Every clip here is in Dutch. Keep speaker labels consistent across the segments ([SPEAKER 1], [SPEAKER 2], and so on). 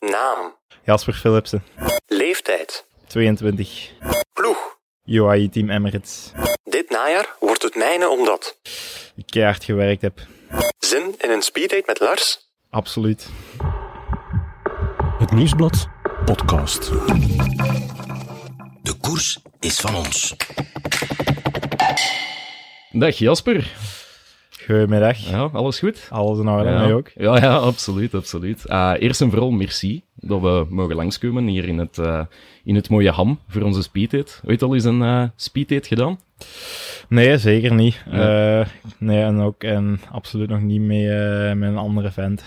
[SPEAKER 1] Naam.
[SPEAKER 2] Jasper Philipsen,
[SPEAKER 1] Leeftijd.
[SPEAKER 2] 22.
[SPEAKER 1] Ploeg.
[SPEAKER 2] UAE E Team Emirates.
[SPEAKER 1] Dit najaar wordt het mijne omdat.
[SPEAKER 2] Ik keihard gewerkt heb.
[SPEAKER 1] Zin in een speeddate met Lars?
[SPEAKER 2] Absoluut.
[SPEAKER 3] Het Nieuwsblad podcast.
[SPEAKER 4] De koers is van ons.
[SPEAKER 5] Dag Jasper.
[SPEAKER 2] Goedemiddag.
[SPEAKER 5] Ja, alles goed?
[SPEAKER 2] Alles in orde,
[SPEAKER 5] ja.
[SPEAKER 2] mij ook.
[SPEAKER 5] Ja, ja, absoluut, absoluut. Eh, eerst en vooral merci dat we mogen langskomen hier in het, eh, in het mooie ham voor onze speeddate. Ooit al eens een eh speeddate gedaan?
[SPEAKER 2] Nee, zeker niet. Eh, nee, en ook en absoluut nog niet mee eh, met een andere vent.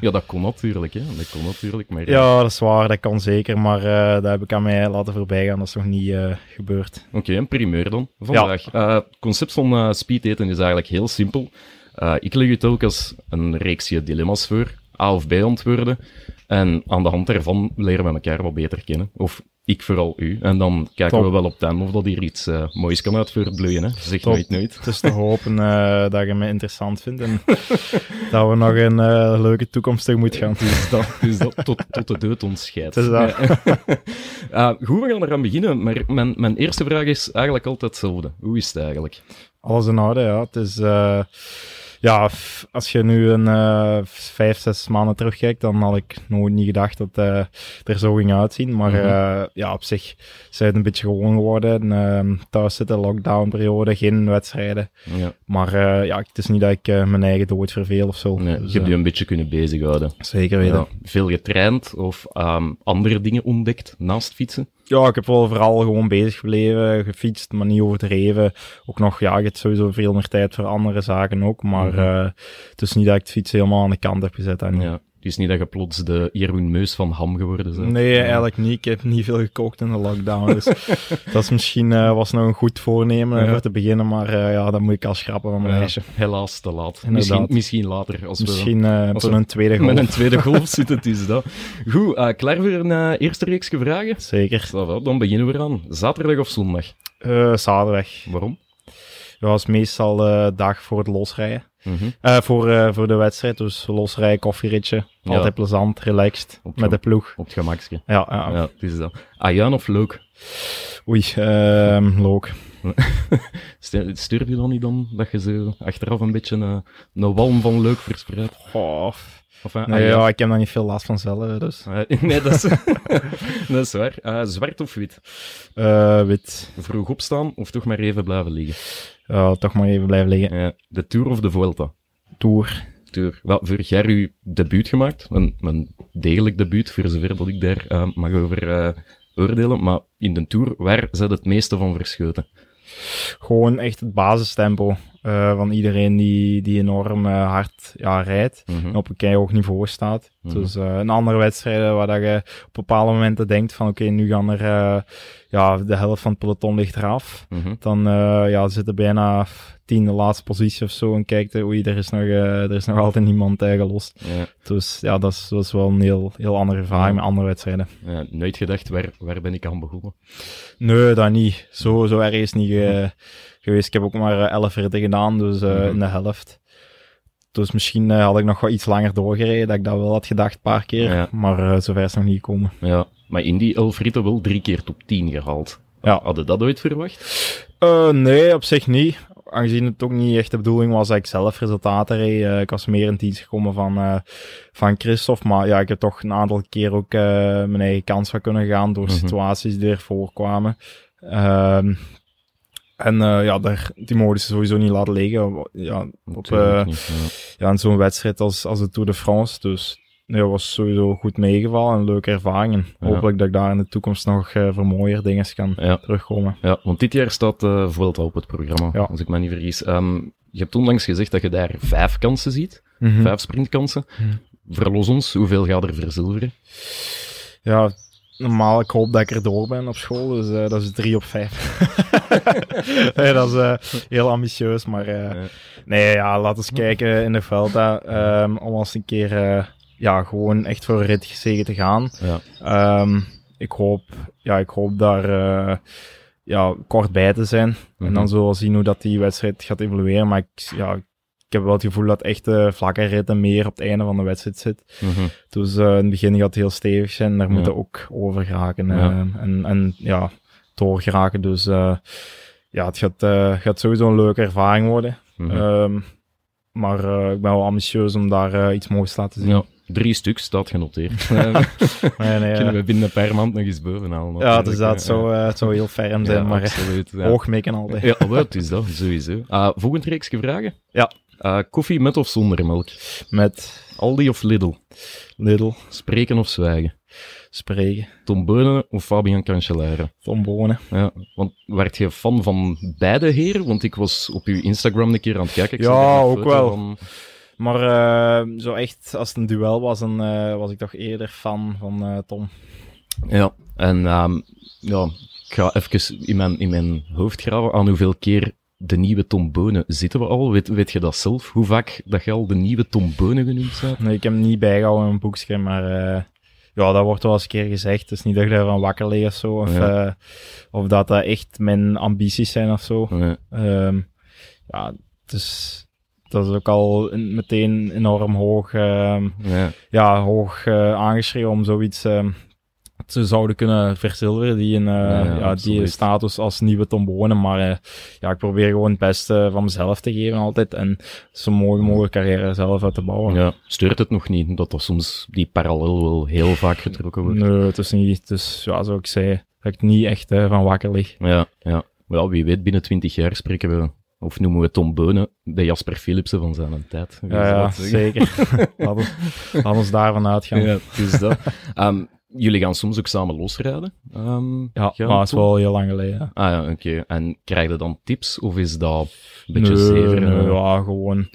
[SPEAKER 5] Ja, dat kon natuurlijk, hè. Dat kon natuurlijk, maar... eh,
[SPEAKER 2] Ja, dat is waar, dat kan zeker, maar eh dat heb ik aan mij laten voorbijgaan. Dat is nog niet eh, gebeurd.
[SPEAKER 5] Oké, een primeur dan vandaag. Het concept van eh speedaten is eigenlijk heel simpel. Eh, ik leg u telkens een reeksje dilemma's voor, A of B antwoorden. En aan de hand daarvan leren we elkaar wat beter kennen. Of ik vooral u. En dan kijken
[SPEAKER 2] Top.
[SPEAKER 5] we wel op ten of dat hier iets eh, moois kan uit voortbloeien. Hè? Zeg
[SPEAKER 2] Top.
[SPEAKER 5] nooit nooit.
[SPEAKER 2] Het is te hopen eh, dat je me interessant vindt en dat we nog een eh, leuke toekomst tegemoet gaan.
[SPEAKER 5] Dus dat, dus dat tot, tot de dood ons scheidt.
[SPEAKER 2] Het is dat.
[SPEAKER 5] Eh, goed, we gaan eraan beginnen. Maar mijn, mijn eerste vraag is eigenlijk altijd hetzelfde. Hoe is het eigenlijk?
[SPEAKER 2] Alles in orde, ja. Het is, eh, ja, f- als je nu een eh, vijf, zes maanden terugkijkt, dan had ik nooit niet gedacht dat eh het er zo ging uitzien. Maar
[SPEAKER 5] Mhm.
[SPEAKER 2] eh, ja, op zich zijn het een beetje gewoon geworden. Ehm thuis zitten, lockdownperiode, geen wedstrijden.
[SPEAKER 5] Ja.
[SPEAKER 2] Maar eh, ja, het is niet dat ik eh, mijn eigen dood verveel of zo.
[SPEAKER 5] Nee,
[SPEAKER 2] Dus,
[SPEAKER 5] je hebt
[SPEAKER 2] eh,
[SPEAKER 5] je een beetje kunnen bezighouden.
[SPEAKER 2] Zeker weten.
[SPEAKER 5] Ja, veel getraind of ehm, andere dingen ontdekt naast fietsen.
[SPEAKER 2] Ja, ik heb wel vooral gewoon bezig gebleven, gefietst, maar niet overdreven. Ook nog, ja, je hebt sowieso veel meer tijd voor andere zaken ook, maar
[SPEAKER 5] Mhm.
[SPEAKER 2] eh, het is niet dat ik het fietsen helemaal aan de kant heb gezet. En,
[SPEAKER 5] Ja. Het is niet dat je plots de Jeroen Meus van Ham geworden bent.
[SPEAKER 2] Nee, eigenlijk niet. Ik heb niet veel gekookt in de lockdown, dus dat is misschien eh, was nog een goed voornemen eh,
[SPEAKER 5] Ja.
[SPEAKER 2] voor te beginnen, maar eh, ja, dat moet ik al schrappen van mijn
[SPEAKER 5] Ja,
[SPEAKER 2] lijstje.
[SPEAKER 5] Eh, helaas te laat.
[SPEAKER 2] Inderdaad.
[SPEAKER 5] Misschien, misschien later, als
[SPEAKER 2] Misschien eh
[SPEAKER 5] als
[SPEAKER 2] voor
[SPEAKER 5] we-
[SPEAKER 2] een tweede
[SPEAKER 5] we
[SPEAKER 2] golf.
[SPEAKER 5] met een tweede golf zitten. Het is dat. Goed, eh, klaar voor een eh, eerste reeks vragen?
[SPEAKER 2] Zeker.
[SPEAKER 5] Ça va, Dan beginnen we aan. Zaterdag of zondag?
[SPEAKER 2] Eh, zaterdag.
[SPEAKER 5] Waarom?
[SPEAKER 2] Dat was meestal de dag voor het losrijden.
[SPEAKER 5] Mhm.
[SPEAKER 2] Eh, voor, eh, voor de wedstrijd, dus losrijden, koffieritje.
[SPEAKER 5] Ja.
[SPEAKER 2] Altijd plezant, relaxed,
[SPEAKER 5] Op
[SPEAKER 2] met de
[SPEAKER 5] gemak.
[SPEAKER 2] ploeg.
[SPEAKER 5] Op het gemakje.
[SPEAKER 2] Ja, ja.
[SPEAKER 5] Ja, het is dat. Ayaan of Leuk?
[SPEAKER 2] oei, ehm leuk.
[SPEAKER 5] Stuur je dan niet dan dat je ze achteraf een beetje eh, een walm van Leuk verspreidt?
[SPEAKER 2] Goh,
[SPEAKER 5] Of, eh,
[SPEAKER 2] nee,
[SPEAKER 5] Ayaan?
[SPEAKER 2] ja, ik heb daar niet veel last van zelf, dus.
[SPEAKER 5] Eh, nee, dat is, dat is waar. Eh, zwart of wit?
[SPEAKER 2] Eh, wit.
[SPEAKER 5] Vroeg opstaan of toch maar even blijven liggen?
[SPEAKER 2] Ja, toch maar even blijven liggen.
[SPEAKER 5] Eh, de Tour of de Vuelta?
[SPEAKER 2] Tour.
[SPEAKER 5] Tour. Wel, vorig jaar uw debuut gemaakt. Een, een degelijk debuut, voor zover dat ik daar eh, mag over eh, oordelen. Maar in de Tour, waar zit het meeste van verschoten?
[SPEAKER 2] Gewoon echt het basistempo eh, van iedereen die, die enorm eh, hard ja, rijdt.
[SPEAKER 5] Mhm.
[SPEAKER 2] En op een keihard hoog niveau staat. Dus eh, in andere wedstrijden waar dat je op bepaalde momenten denkt van oké, nu gaan er eh, ja, de helft van het peloton ligt eraf.
[SPEAKER 5] Mhm.
[SPEAKER 2] Dan eh, ja, zitten bijna tiende laatste positie of zo en kijkt eh, oei, er is nog, eh, er is nog altijd niemand eh, gelost.
[SPEAKER 5] Ja,
[SPEAKER 2] Dus ja, dat is, dat is wel een heel, heel andere ervaring met andere wedstrijden.
[SPEAKER 5] ja, nooit gedacht, waar, waar ben ik aan begonnen?
[SPEAKER 2] Nee, dat niet. Zo, zo erg is het niet eh, geweest. Ik heb ook maar eh, 11 ritten gedaan, dus eh, in de helft. Dus misschien eh, had ik nog wel iets langer doorgereden, dat ik dat wel had gedacht een paar keer.
[SPEAKER 5] Ja.
[SPEAKER 2] Maar eh, zover is het nog niet gekomen.
[SPEAKER 5] Ja, maar in die elf ritten wel drie keer top 10 gehaald.
[SPEAKER 2] Ja.
[SPEAKER 5] Hadden dat ooit verwacht?
[SPEAKER 2] Eh, nee, op zich niet. Aangezien het ook niet echt de bedoeling was dat ik zelf resultaten reed. Eh, ik was meer in dienst gekomen van, eh, van Christophe. Maar ja, ik heb toch een aantal keer ook eh, mijn eigen kans van kunnen gaan door
[SPEAKER 5] Mhm.
[SPEAKER 2] situaties die er voorkwamen. Ehm, en eh, ja, daar, die mogen ze sowieso niet laten liggen. Ja, op,
[SPEAKER 5] Natuurlijk
[SPEAKER 2] eh,
[SPEAKER 5] niet, ja.
[SPEAKER 2] ja, in zo'n wedstrijd als, als de Tour de France. Dus nee, dat was sowieso goed meegevallen. Een leuke ervaring. En
[SPEAKER 5] Ja.
[SPEAKER 2] Hopelijk dat ik daar in de toekomst nog eh, voor mooier dingen kan
[SPEAKER 5] Ja.
[SPEAKER 2] terugkomen.
[SPEAKER 5] Ja, want dit jaar staat eh Vuelta op het programma,
[SPEAKER 2] Ja.
[SPEAKER 5] als ik me niet vergis. Ehm, je hebt onlangs gezegd dat je daar vijf kansen ziet,
[SPEAKER 2] Mhm.
[SPEAKER 5] vijf sprintkansen. Verlos ons, hoeveel gaat er verzilveren?
[SPEAKER 2] Ja, normaal, ik hoop dat ik er door ben op school, dus eh, dat is 3 op 5. nee, dat is eh, heel ambitieus, maar eh,
[SPEAKER 5] Ja.
[SPEAKER 2] nee, ja, laten we kijken in de Velta ehm, om als een keer eh, ja, gewoon echt voor een rit gezegen te gaan.
[SPEAKER 5] Ja.
[SPEAKER 2] Ehm, ik, hoop, ja, ik hoop daar eh, ja, kort bij te zijn en
[SPEAKER 5] Mhm.
[SPEAKER 2] dan zullen we zien hoe dat die wedstrijd gaat evolueren, maar ik, ja, ik heb wel het gevoel dat echt de vlakke ritten meer op het einde van de wedstrijd zit.
[SPEAKER 5] Mhm.
[SPEAKER 2] Dus eh, in het begin gaat het heel stevig zijn. Daar
[SPEAKER 5] Ja.
[SPEAKER 2] moeten ook over geraken. eh,
[SPEAKER 5] Ja.
[SPEAKER 2] En, en ja, door geraken. Dus eh, ja, het gaat, eh, gaat sowieso een leuke ervaring worden.
[SPEAKER 5] Mhm.
[SPEAKER 2] Ehm, maar eh, ik ben wel ambitieus om daar eh, iets moois te laten zien.
[SPEAKER 5] Ja, drie stuks staat genoteerd. Eh,
[SPEAKER 2] Nee, nee,
[SPEAKER 5] Kunnen
[SPEAKER 2] eh,
[SPEAKER 5] we binnen een paar maanden nog eens bovenhalen.
[SPEAKER 2] ja, dus
[SPEAKER 5] natuurlijk,
[SPEAKER 2] dat
[SPEAKER 5] eh,
[SPEAKER 2] zou, eh, het zou heel ferm zijn.
[SPEAKER 5] ja,
[SPEAKER 2] maar eh,
[SPEAKER 5] absoluut, ja.
[SPEAKER 2] oog mee kan altijd.
[SPEAKER 5] Ja, wat is dat, sowieso. Eh volgend reeksje vragen?
[SPEAKER 2] Ja.
[SPEAKER 5] Eh, koffie met of zonder melk?
[SPEAKER 2] Met
[SPEAKER 5] Aldi of Lidl?
[SPEAKER 2] Lidl
[SPEAKER 5] Spreken of zwijgen?
[SPEAKER 2] spreken.
[SPEAKER 5] Tom Beunen of Fabian Cancellara?
[SPEAKER 2] Tombonen.
[SPEAKER 5] Ja, want werd je fan van beide heren? Want ik was op uw Instagram een keer aan het kijken. Ik
[SPEAKER 2] Ja,
[SPEAKER 5] zag daar een
[SPEAKER 2] ook
[SPEAKER 5] foto
[SPEAKER 2] wel.
[SPEAKER 5] van-
[SPEAKER 2] Maar eh, zo echt, als het een duel was, dan eh, was ik toch eerder fan van eh, Tom.
[SPEAKER 5] Ja, en ehm, ja, ik ga even in mijn, in mijn hoofd graven aan hoeveel keer de nieuwe Tom Bonen zitten we al. Weet, weet je dat zelf? Hoe vaak dat je al de nieuwe Tom Bonen genoemd bent?
[SPEAKER 2] Nee, ik heb hem niet bijgehouden in een boekje, maar eh, ja, dat wordt wel eens een keer gezegd. Het is niet dat ik daarvan wakker lig of zo, of,
[SPEAKER 5] Ja.
[SPEAKER 2] eh, of dat dat echt mijn ambities zijn of zo.
[SPEAKER 5] Nee.
[SPEAKER 2] Ehm, ja, dus dat is ook al in- meteen enorm hoog, ehm,
[SPEAKER 5] Ja.
[SPEAKER 2] ja, hoog eh, aangeschreven om zoiets ehm, te zouden kunnen verzilveren, die, een, eh,
[SPEAKER 5] Ja, ja,
[SPEAKER 2] ja, die
[SPEAKER 5] absoluut.
[SPEAKER 2] status als nieuwe tombonen. Maar eh, ja, ik probeer gewoon het beste van mezelf te geven altijd en zo mooi mogelijk carrière zelf uit te bouwen.
[SPEAKER 5] ja, steurt het nog niet dat er soms die parallel wel heel vaak getrokken wordt?
[SPEAKER 2] Nee, het is niet. Dus ja, zoals ik zei, dat ik niet echt eh, van wakker lig.
[SPEAKER 5] Ja, ja. Wel, wie weet, binnen twintig jaar spreken we, of noemen we Tom Bonen de Jasper Philipsen van zijn tijd. Wie
[SPEAKER 2] Ja,
[SPEAKER 5] zou
[SPEAKER 2] ja
[SPEAKER 5] dat zeggen?
[SPEAKER 2] zeker. laat, ons, laat ons daarvan uitgaan. Ja,
[SPEAKER 5] Ja, dus dat. Ehm, jullie gaan soms ook samen losrijden. Ehm, gaan
[SPEAKER 2] maar het is
[SPEAKER 5] Tom-
[SPEAKER 2] wel heel lang geleden.
[SPEAKER 5] Ah ja, oké. En krijg je dan tips of is dat een beetje
[SPEAKER 2] Nee,
[SPEAKER 5] zever?
[SPEAKER 2] nee,
[SPEAKER 5] eh?
[SPEAKER 2] ja, gewoon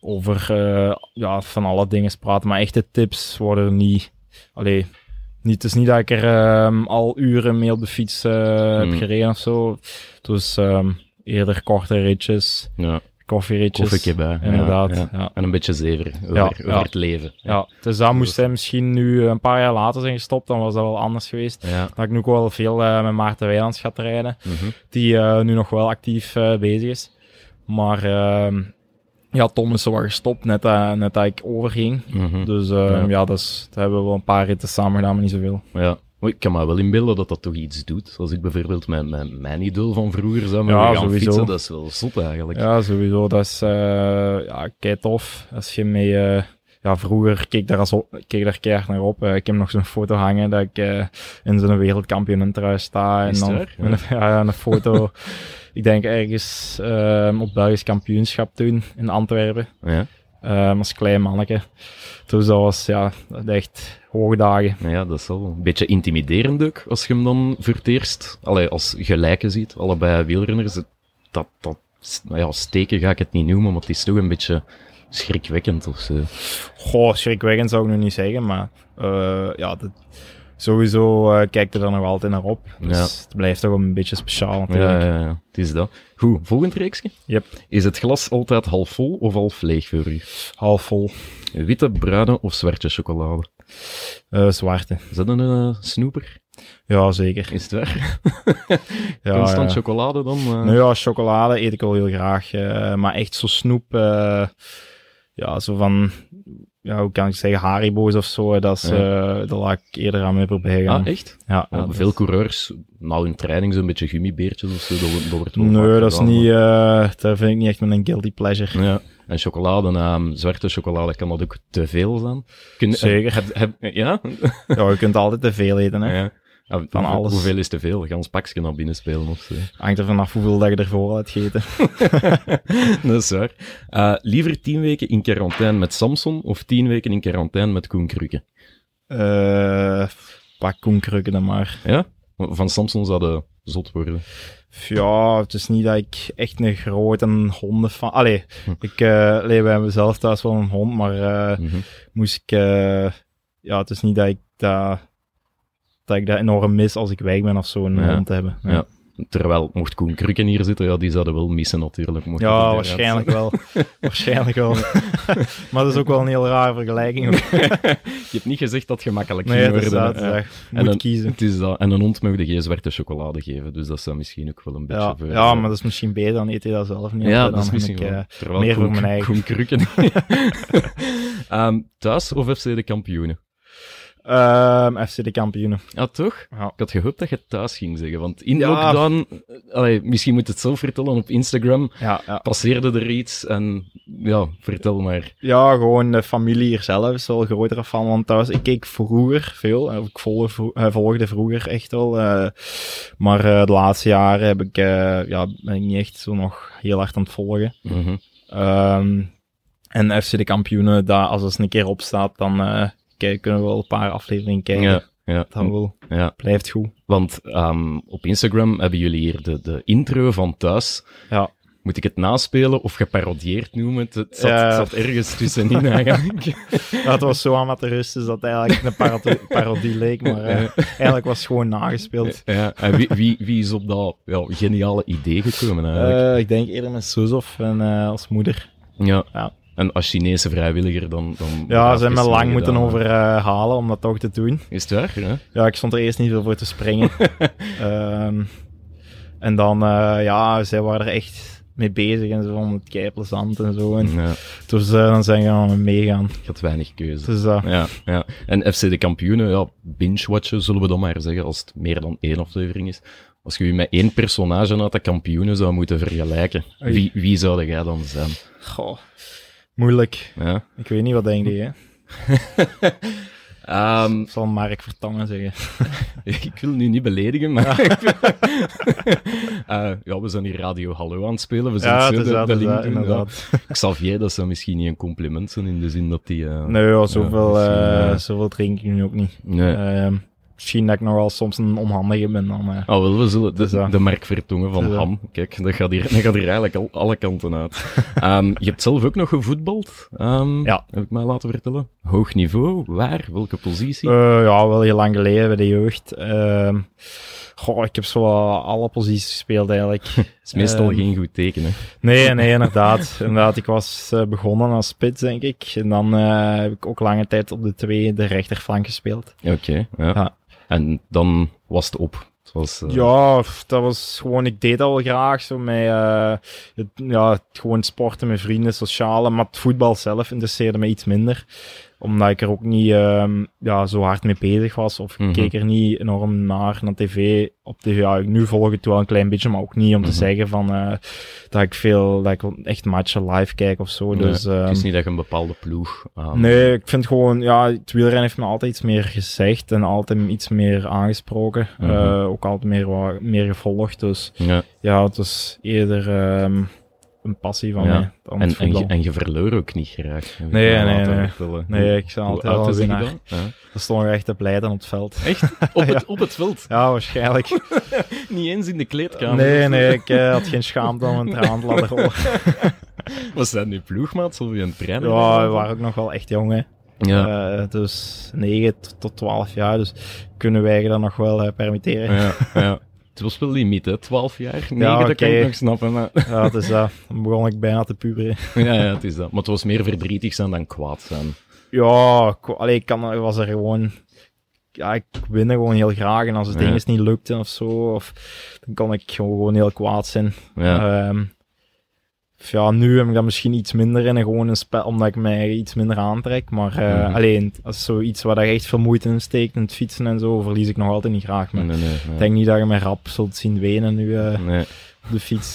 [SPEAKER 2] over eh, ja, van alle dingen praten. Maar echte tips worden niet... Allee, niet, het is niet dat ik er ehm, al uren mee op de fiets eh,
[SPEAKER 5] Hmm.
[SPEAKER 2] heb gereden of zo. Dus ehm, eerder korte ritjes,
[SPEAKER 5] ja.
[SPEAKER 2] koffieritjes.
[SPEAKER 5] Koffieke bij. ja,
[SPEAKER 2] Inderdaad,
[SPEAKER 5] ja.
[SPEAKER 2] ja.
[SPEAKER 5] En een beetje zever over,
[SPEAKER 2] Ja,
[SPEAKER 5] over
[SPEAKER 2] ja.
[SPEAKER 5] het leven.
[SPEAKER 2] Ja, dus dat moest hij misschien nu een paar jaar later zijn gestopt, dan was dat wel anders geweest.
[SPEAKER 5] Ja. mhm,
[SPEAKER 2] Dat ik nu ook wel veel eh, met Maarten Weilands gaat rijden, die eh, nu nog wel actief eh, bezig is. Maar ehm, ja, Tom is er wel gestopt, net, dat- net dat ik overging.
[SPEAKER 5] Mhm.
[SPEAKER 2] Dus ehm,
[SPEAKER 5] Ja.
[SPEAKER 2] ja, dat, is, dat hebben we wel een paar ritten samen gedaan, maar niet zoveel.
[SPEAKER 5] ja. Maar ik kan me wel inbeelden dat dat toch iets doet. Als ik bijvoorbeeld mijn, mijn, mijn idool van vroeger zou moeten
[SPEAKER 2] Ja,
[SPEAKER 5] gaan
[SPEAKER 2] sowieso.
[SPEAKER 5] fietsen, dat is wel zot eigenlijk.
[SPEAKER 2] Ja, sowieso. Dat is eh ja, kei tof. Als je mee... eh, ja, vroeger keek ik daar, als op, keek daar keihard naar op. Eh, ik heb nog zo'n foto hangen dat ik eh, in zo'n wereldkampioenentrui sta.
[SPEAKER 5] Is
[SPEAKER 2] en dan
[SPEAKER 5] het waar?
[SPEAKER 2] met een, ja, een foto... ik denk ergens ehm, op Belgisch kampioenschap toen in Antwerpen.
[SPEAKER 5] Ja.
[SPEAKER 2] Ehm, als klein manneke. Dus dat was ja, echt hoge dagen.
[SPEAKER 5] Nou ja, dat is wel een beetje intimiderend ook, als je hem dan voor het eerst, allee, als gelijke ziet, allebei wielrenners, het- dat, dat, nou ja, steken ga ik het niet noemen, maar het is toch een beetje schrikwekkend of zo.
[SPEAKER 2] Goh, schrikwekkend zou ik nu niet zeggen, maar eh, ja, dat, sowieso eh kijk er dan nog altijd naar op. Dus
[SPEAKER 5] Ja.
[SPEAKER 2] het blijft toch wel een beetje speciaal natuurlijk.
[SPEAKER 5] Ja, ja, ja, het is dat. Goed, volgend reeksje.
[SPEAKER 2] Yep,
[SPEAKER 5] Is het glas altijd half vol of half leeg voor u?
[SPEAKER 2] half vol.
[SPEAKER 5] Witte, bruine of zwarte chocolade?
[SPEAKER 2] Eh, zwarte.
[SPEAKER 5] Is dat een eh, snoeper?
[SPEAKER 2] Ja, zeker.
[SPEAKER 5] Is het waar?
[SPEAKER 2] Ja,
[SPEAKER 5] Constant
[SPEAKER 2] ja.
[SPEAKER 5] chocolade dan? eh?
[SPEAKER 2] Nou ja, chocolade eet ik wel heel graag. eh, maar echt zo snoep. eh, ja, zo van. Ja, hoe kan ik zeggen? Haribo's of zo. eh, Dat, is, eh, dat laat ik eerder aan me voorbij gaan.
[SPEAKER 5] Ah, echt?
[SPEAKER 2] Ja, ja,
[SPEAKER 5] Want
[SPEAKER 2] dat
[SPEAKER 5] veel
[SPEAKER 2] is-
[SPEAKER 5] coureurs, nou hun training zo'n beetje gummibeertjes of zo, dat, wordt- dat wordt wel
[SPEAKER 2] Nee,
[SPEAKER 5] vaak
[SPEAKER 2] dat is
[SPEAKER 5] gedaan,
[SPEAKER 2] niet. eh, daar vind ik niet echt met een guilty pleasure.
[SPEAKER 5] Ja, en chocolade, ehm, zwarte chocolade, kan dat ook te veel zijn? Kun-
[SPEAKER 2] Zeker.
[SPEAKER 5] heb- heb- ja?
[SPEAKER 2] Ja, je kunt altijd te veel eten. Hè.
[SPEAKER 5] ja. Van
[SPEAKER 2] alles.
[SPEAKER 5] Hoeveel is te veel? Gans pakje naar binnen spelen of zo.
[SPEAKER 2] Hangt er vanaf hoeveel dat je ervoor al hebt gegeten.
[SPEAKER 5] dat is waar. Eh, liever tien weken in quarantaine met Samson of tien weken in quarantaine met Koen Krukke?
[SPEAKER 2] Eh, pak koenkrukken dan maar.
[SPEAKER 5] Ja? Van Samson zouden zot worden.
[SPEAKER 2] Ja, het is niet dat ik echt een grote hondenfan... Allee, ik eh leef bij mezelf thuis wel een hond, maar eh,
[SPEAKER 5] Mhm.
[SPEAKER 2] moest ik... eh, ja, het is niet dat ik dat, dat ik dat enorm mis als ik weg ben of zo, een
[SPEAKER 5] Ja.
[SPEAKER 2] hond te hebben.
[SPEAKER 5] Ja. Terwijl, mocht Koen Krukken hier zitten, ja, die zouden wel missen natuurlijk. mocht hij
[SPEAKER 2] Ja,
[SPEAKER 5] eruit
[SPEAKER 2] waarschijnlijk wel. waarschijnlijk wel. maar dat is ook wel een heel rare vergelijking. hoor.
[SPEAKER 5] zijn. Je hebt niet gezegd dat het gemakkelijk
[SPEAKER 2] Nee,
[SPEAKER 5] ging
[SPEAKER 2] dat is
[SPEAKER 5] worden.
[SPEAKER 2] dat.
[SPEAKER 5] hè.
[SPEAKER 2] dat
[SPEAKER 5] En
[SPEAKER 2] Moet
[SPEAKER 5] een-
[SPEAKER 2] kiezen.
[SPEAKER 5] Het is dat. En een hond mag de geen zwarte chocolade geven, dus dat zou misschien ook wel een beetje...
[SPEAKER 2] Ja,
[SPEAKER 5] voor-
[SPEAKER 2] ja, maar dat is misschien beter, dan eet hij dat zelf niet.
[SPEAKER 5] Ja,
[SPEAKER 2] op,
[SPEAKER 5] dat is
[SPEAKER 2] dan
[SPEAKER 5] misschien
[SPEAKER 2] heb ik,
[SPEAKER 5] wel.
[SPEAKER 2] eh,
[SPEAKER 5] Terwijl
[SPEAKER 2] meer voor
[SPEAKER 5] Koen-
[SPEAKER 2] mijn eigen.
[SPEAKER 5] Koen Krukken. Ehm, thuis of FC de kampioenen?
[SPEAKER 2] ehm, FC de kampioenen.
[SPEAKER 5] Ja, toch?
[SPEAKER 2] Ja.
[SPEAKER 5] Ik had gehoopt dat je thuis ging zeggen, want in
[SPEAKER 2] Ja.
[SPEAKER 5] lockdown... Allee, misschien moet je het zelf vertellen op Instagram.
[SPEAKER 2] Ja, ja.
[SPEAKER 5] Passeerde er iets en... Ja, vertel maar.
[SPEAKER 2] ja, gewoon de familie hier zelf is wel groter van. Want thuis, ik keek vroeger veel. eh, Ik volg- vro- eh, volgde vroeger echt wel. eh, maar eh, de laatste jaren heb ik, eh, ja, ben ik niet echt zo nog heel hard aan het volgen.
[SPEAKER 5] Mhm.
[SPEAKER 2] Ehm, en FC de kampioenen, daar, als het een keer opstaat, dan eh, kijk- kunnen we wel een paar afleveringen kijken.
[SPEAKER 5] Ja, ja,
[SPEAKER 2] Dat wel.
[SPEAKER 5] ja.
[SPEAKER 2] blijft goed.
[SPEAKER 5] Want ehm, op Instagram hebben jullie hier de, de intro van thuis.
[SPEAKER 2] Ja.
[SPEAKER 5] Moet ik het naspelen of geparodieerd noemen? Het, het zat,
[SPEAKER 2] Ja.
[SPEAKER 5] het zat ergens tussenin eigenlijk.
[SPEAKER 2] Dat was zo amateuristisch dat het eigenlijk een parado- parodie leek, maar eh, eigenlijk was het gewoon nagespeeld.
[SPEAKER 5] ja, en wie, wie, wie is op dat ja, geniale idee gekomen eigenlijk?
[SPEAKER 2] Eh, ik denk eerder met Sozov en eh, als moeder.
[SPEAKER 5] ja.
[SPEAKER 2] ja.
[SPEAKER 5] En als Chinese vrijwilliger dan... dan
[SPEAKER 2] Ja, ze
[SPEAKER 5] is
[SPEAKER 2] hebben me
[SPEAKER 5] het
[SPEAKER 2] lang
[SPEAKER 5] wel
[SPEAKER 2] moeten
[SPEAKER 5] gedaan.
[SPEAKER 2] overhalen om dat toch te doen.
[SPEAKER 5] Is het waar? Ja?
[SPEAKER 2] Ja, ik stond er eerst niet veel voor te springen. Ehm, en dan, eh, ja, zij waren er echt mee bezig en zo, om het keiplezant en zo. En
[SPEAKER 5] Ja,
[SPEAKER 2] Dus eh, dan zijn we gaan meegaan.
[SPEAKER 5] ik had weinig keuze.
[SPEAKER 2] Dus eh,
[SPEAKER 5] Ja, ja. En FC de kampioenen, ja, binge-watchen zullen we dan maar zeggen, als het meer dan één aflevering is. Als je je met één personage uit de kampioenen zou moeten vergelijken,
[SPEAKER 2] Oei.
[SPEAKER 5] wie, wie zou jij dan zijn?
[SPEAKER 2] goh, moeilijk.
[SPEAKER 5] Ja.
[SPEAKER 2] Ik weet niet wat denk je, hè?
[SPEAKER 5] Ehm,
[SPEAKER 2] Ik zal Mark Vertangen zeggen.
[SPEAKER 5] ik wil nu niet beledigen, maar... Eh, ja, we zijn hier Radio Hallo aan het spelen, we zijn
[SPEAKER 2] Ja,
[SPEAKER 5] zo
[SPEAKER 2] het is
[SPEAKER 5] de,
[SPEAKER 2] dat,
[SPEAKER 5] de
[SPEAKER 2] het is
[SPEAKER 5] link
[SPEAKER 2] dat,
[SPEAKER 5] doen, ja.
[SPEAKER 2] inderdaad.
[SPEAKER 5] Xavier, dat zou misschien niet een compliment zijn, in de zin dat die... eh,
[SPEAKER 2] Nee, ja, zoveel,
[SPEAKER 5] misschien,
[SPEAKER 2] eh,
[SPEAKER 5] eh,
[SPEAKER 2] zoveel drink ik nu ook niet.
[SPEAKER 5] nee.
[SPEAKER 2] Ehm, misschien dat ik nog wel soms een onhandige ben dan. eh.
[SPEAKER 5] Ah, wel, we zullen de,
[SPEAKER 2] Dus ja.
[SPEAKER 5] de mark vertongen van
[SPEAKER 2] Dus ja.
[SPEAKER 5] ham. Kijk, dat gaat hier, dat gaat hier eigenlijk al, alle kanten uit. Ehm, je hebt zelf ook nog gevoetbald, ehm,
[SPEAKER 2] Ja.
[SPEAKER 5] heb ik mij laten vertellen. Hoog niveau, waar, welke positie?
[SPEAKER 2] Eh, ja, wel heel lang geleden bij de jeugd. Ehm, goh, ik heb zo wel alle posities gespeeld eigenlijk.
[SPEAKER 5] is meestal
[SPEAKER 2] ehm,
[SPEAKER 5] geen goed teken, hè.
[SPEAKER 2] Nee, nee, inderdaad. inderdaad ik was eh, begonnen als spits, denk ik. En dan eh, heb ik ook lange tijd op de twee, de rechterflank gespeeld.
[SPEAKER 5] Oké, ja.
[SPEAKER 2] Ja.
[SPEAKER 5] En dan was het op. Het was, eh,
[SPEAKER 2] Ja, f- dat was gewoon, ik deed dat wel graag. Zo met, eh, het, ja, het gewoon sporten met vrienden, sociale. Maar het voetbal zelf interesseerde me iets minder. Omdat ik er ook niet ehm, ja, zo hard mee bezig was. Of ik
[SPEAKER 5] Mhm.
[SPEAKER 2] keek er niet enorm naar, naar tv. Op tv, ja, ik- nu volg ik het wel een klein beetje. Maar ook niet om te
[SPEAKER 5] Mhm.
[SPEAKER 2] zeggen van, eh, dat ik veel, dat ik echt matchen live kijk of zo. Dus,
[SPEAKER 5] nee, het
[SPEAKER 2] ehm,
[SPEAKER 5] is niet dat je een bepaalde ploeg... ehm, aan-
[SPEAKER 2] Nee, ik vind gewoon, ja, het wielrennen heeft me altijd iets meer gezegd en altijd iets meer aangesproken.
[SPEAKER 5] Mhm.
[SPEAKER 2] Eh, ook altijd meer, wa- meer gevolgd. Dus
[SPEAKER 5] Ja.
[SPEAKER 2] ja, het is eerder ehm, een passie van
[SPEAKER 5] Ja.
[SPEAKER 2] mij dan
[SPEAKER 5] En,
[SPEAKER 2] het
[SPEAKER 5] en,
[SPEAKER 2] voetbal.
[SPEAKER 5] je, en je verleur ook niet graag. heb ik
[SPEAKER 2] Nee,
[SPEAKER 5] mij
[SPEAKER 2] nee,
[SPEAKER 5] laten
[SPEAKER 2] nee.
[SPEAKER 5] vertellen.
[SPEAKER 2] Nee, ik ben
[SPEAKER 5] eh, Hoe
[SPEAKER 2] altijd
[SPEAKER 5] oud
[SPEAKER 2] wel
[SPEAKER 5] is je
[SPEAKER 2] winnaar.
[SPEAKER 5] dan? Ja.
[SPEAKER 2] Er stonden we echt te pleiten op het veld.
[SPEAKER 5] Echt? Op het, op het veld?
[SPEAKER 2] Ja, waarschijnlijk.
[SPEAKER 5] Niet eens in de kleedkamer.
[SPEAKER 2] nee, nee, ik eh, had geen schaamte om een traan te laten rollen.
[SPEAKER 5] Was dat nu ploegmaat of je een trainer?
[SPEAKER 2] Ja, we waren ook nog wel echt jong, hè.
[SPEAKER 5] Ja.
[SPEAKER 2] Eh, dus 9 t- tot 12 jaar, dus kunnen wij je dat nog wel eh, permitteren.
[SPEAKER 5] ja, ja. Het was wel limiet, hè? 12 jaar. Nee,
[SPEAKER 2] Ja,
[SPEAKER 5] dat kan
[SPEAKER 2] oké.
[SPEAKER 5] ik nog snappen. Maar...
[SPEAKER 2] Ja, het is dat. Dan begon ik bijna te puberen.
[SPEAKER 5] ja, ja, het is dat. Maar het was meer verdrietig zijn dan kwaad zijn.
[SPEAKER 2] Ja, ik, allee, ik kan, ik was er gewoon. Ja, ik win er gewoon heel graag. En als het
[SPEAKER 5] Ja.
[SPEAKER 2] ding eens niet lukte of zo, of, dan kan ik gewoon, gewoon heel kwaad zijn.
[SPEAKER 5] Ja.
[SPEAKER 2] Ehm, of ja, nu heb ik dat misschien iets minder in. en Gewoon een spel, omdat ik mij iets minder aantrek. Maar eh,
[SPEAKER 5] Mhm.
[SPEAKER 2] alleen, als zoiets waar je echt veel moeite in steekt, in het fietsen en zo, verlies ik nog altijd niet graag. Maar
[SPEAKER 5] nee, nee, nee.
[SPEAKER 2] ik denk niet dat je mij rap zult zien wenen nu eh,
[SPEAKER 5] Nee.
[SPEAKER 2] op de fiets.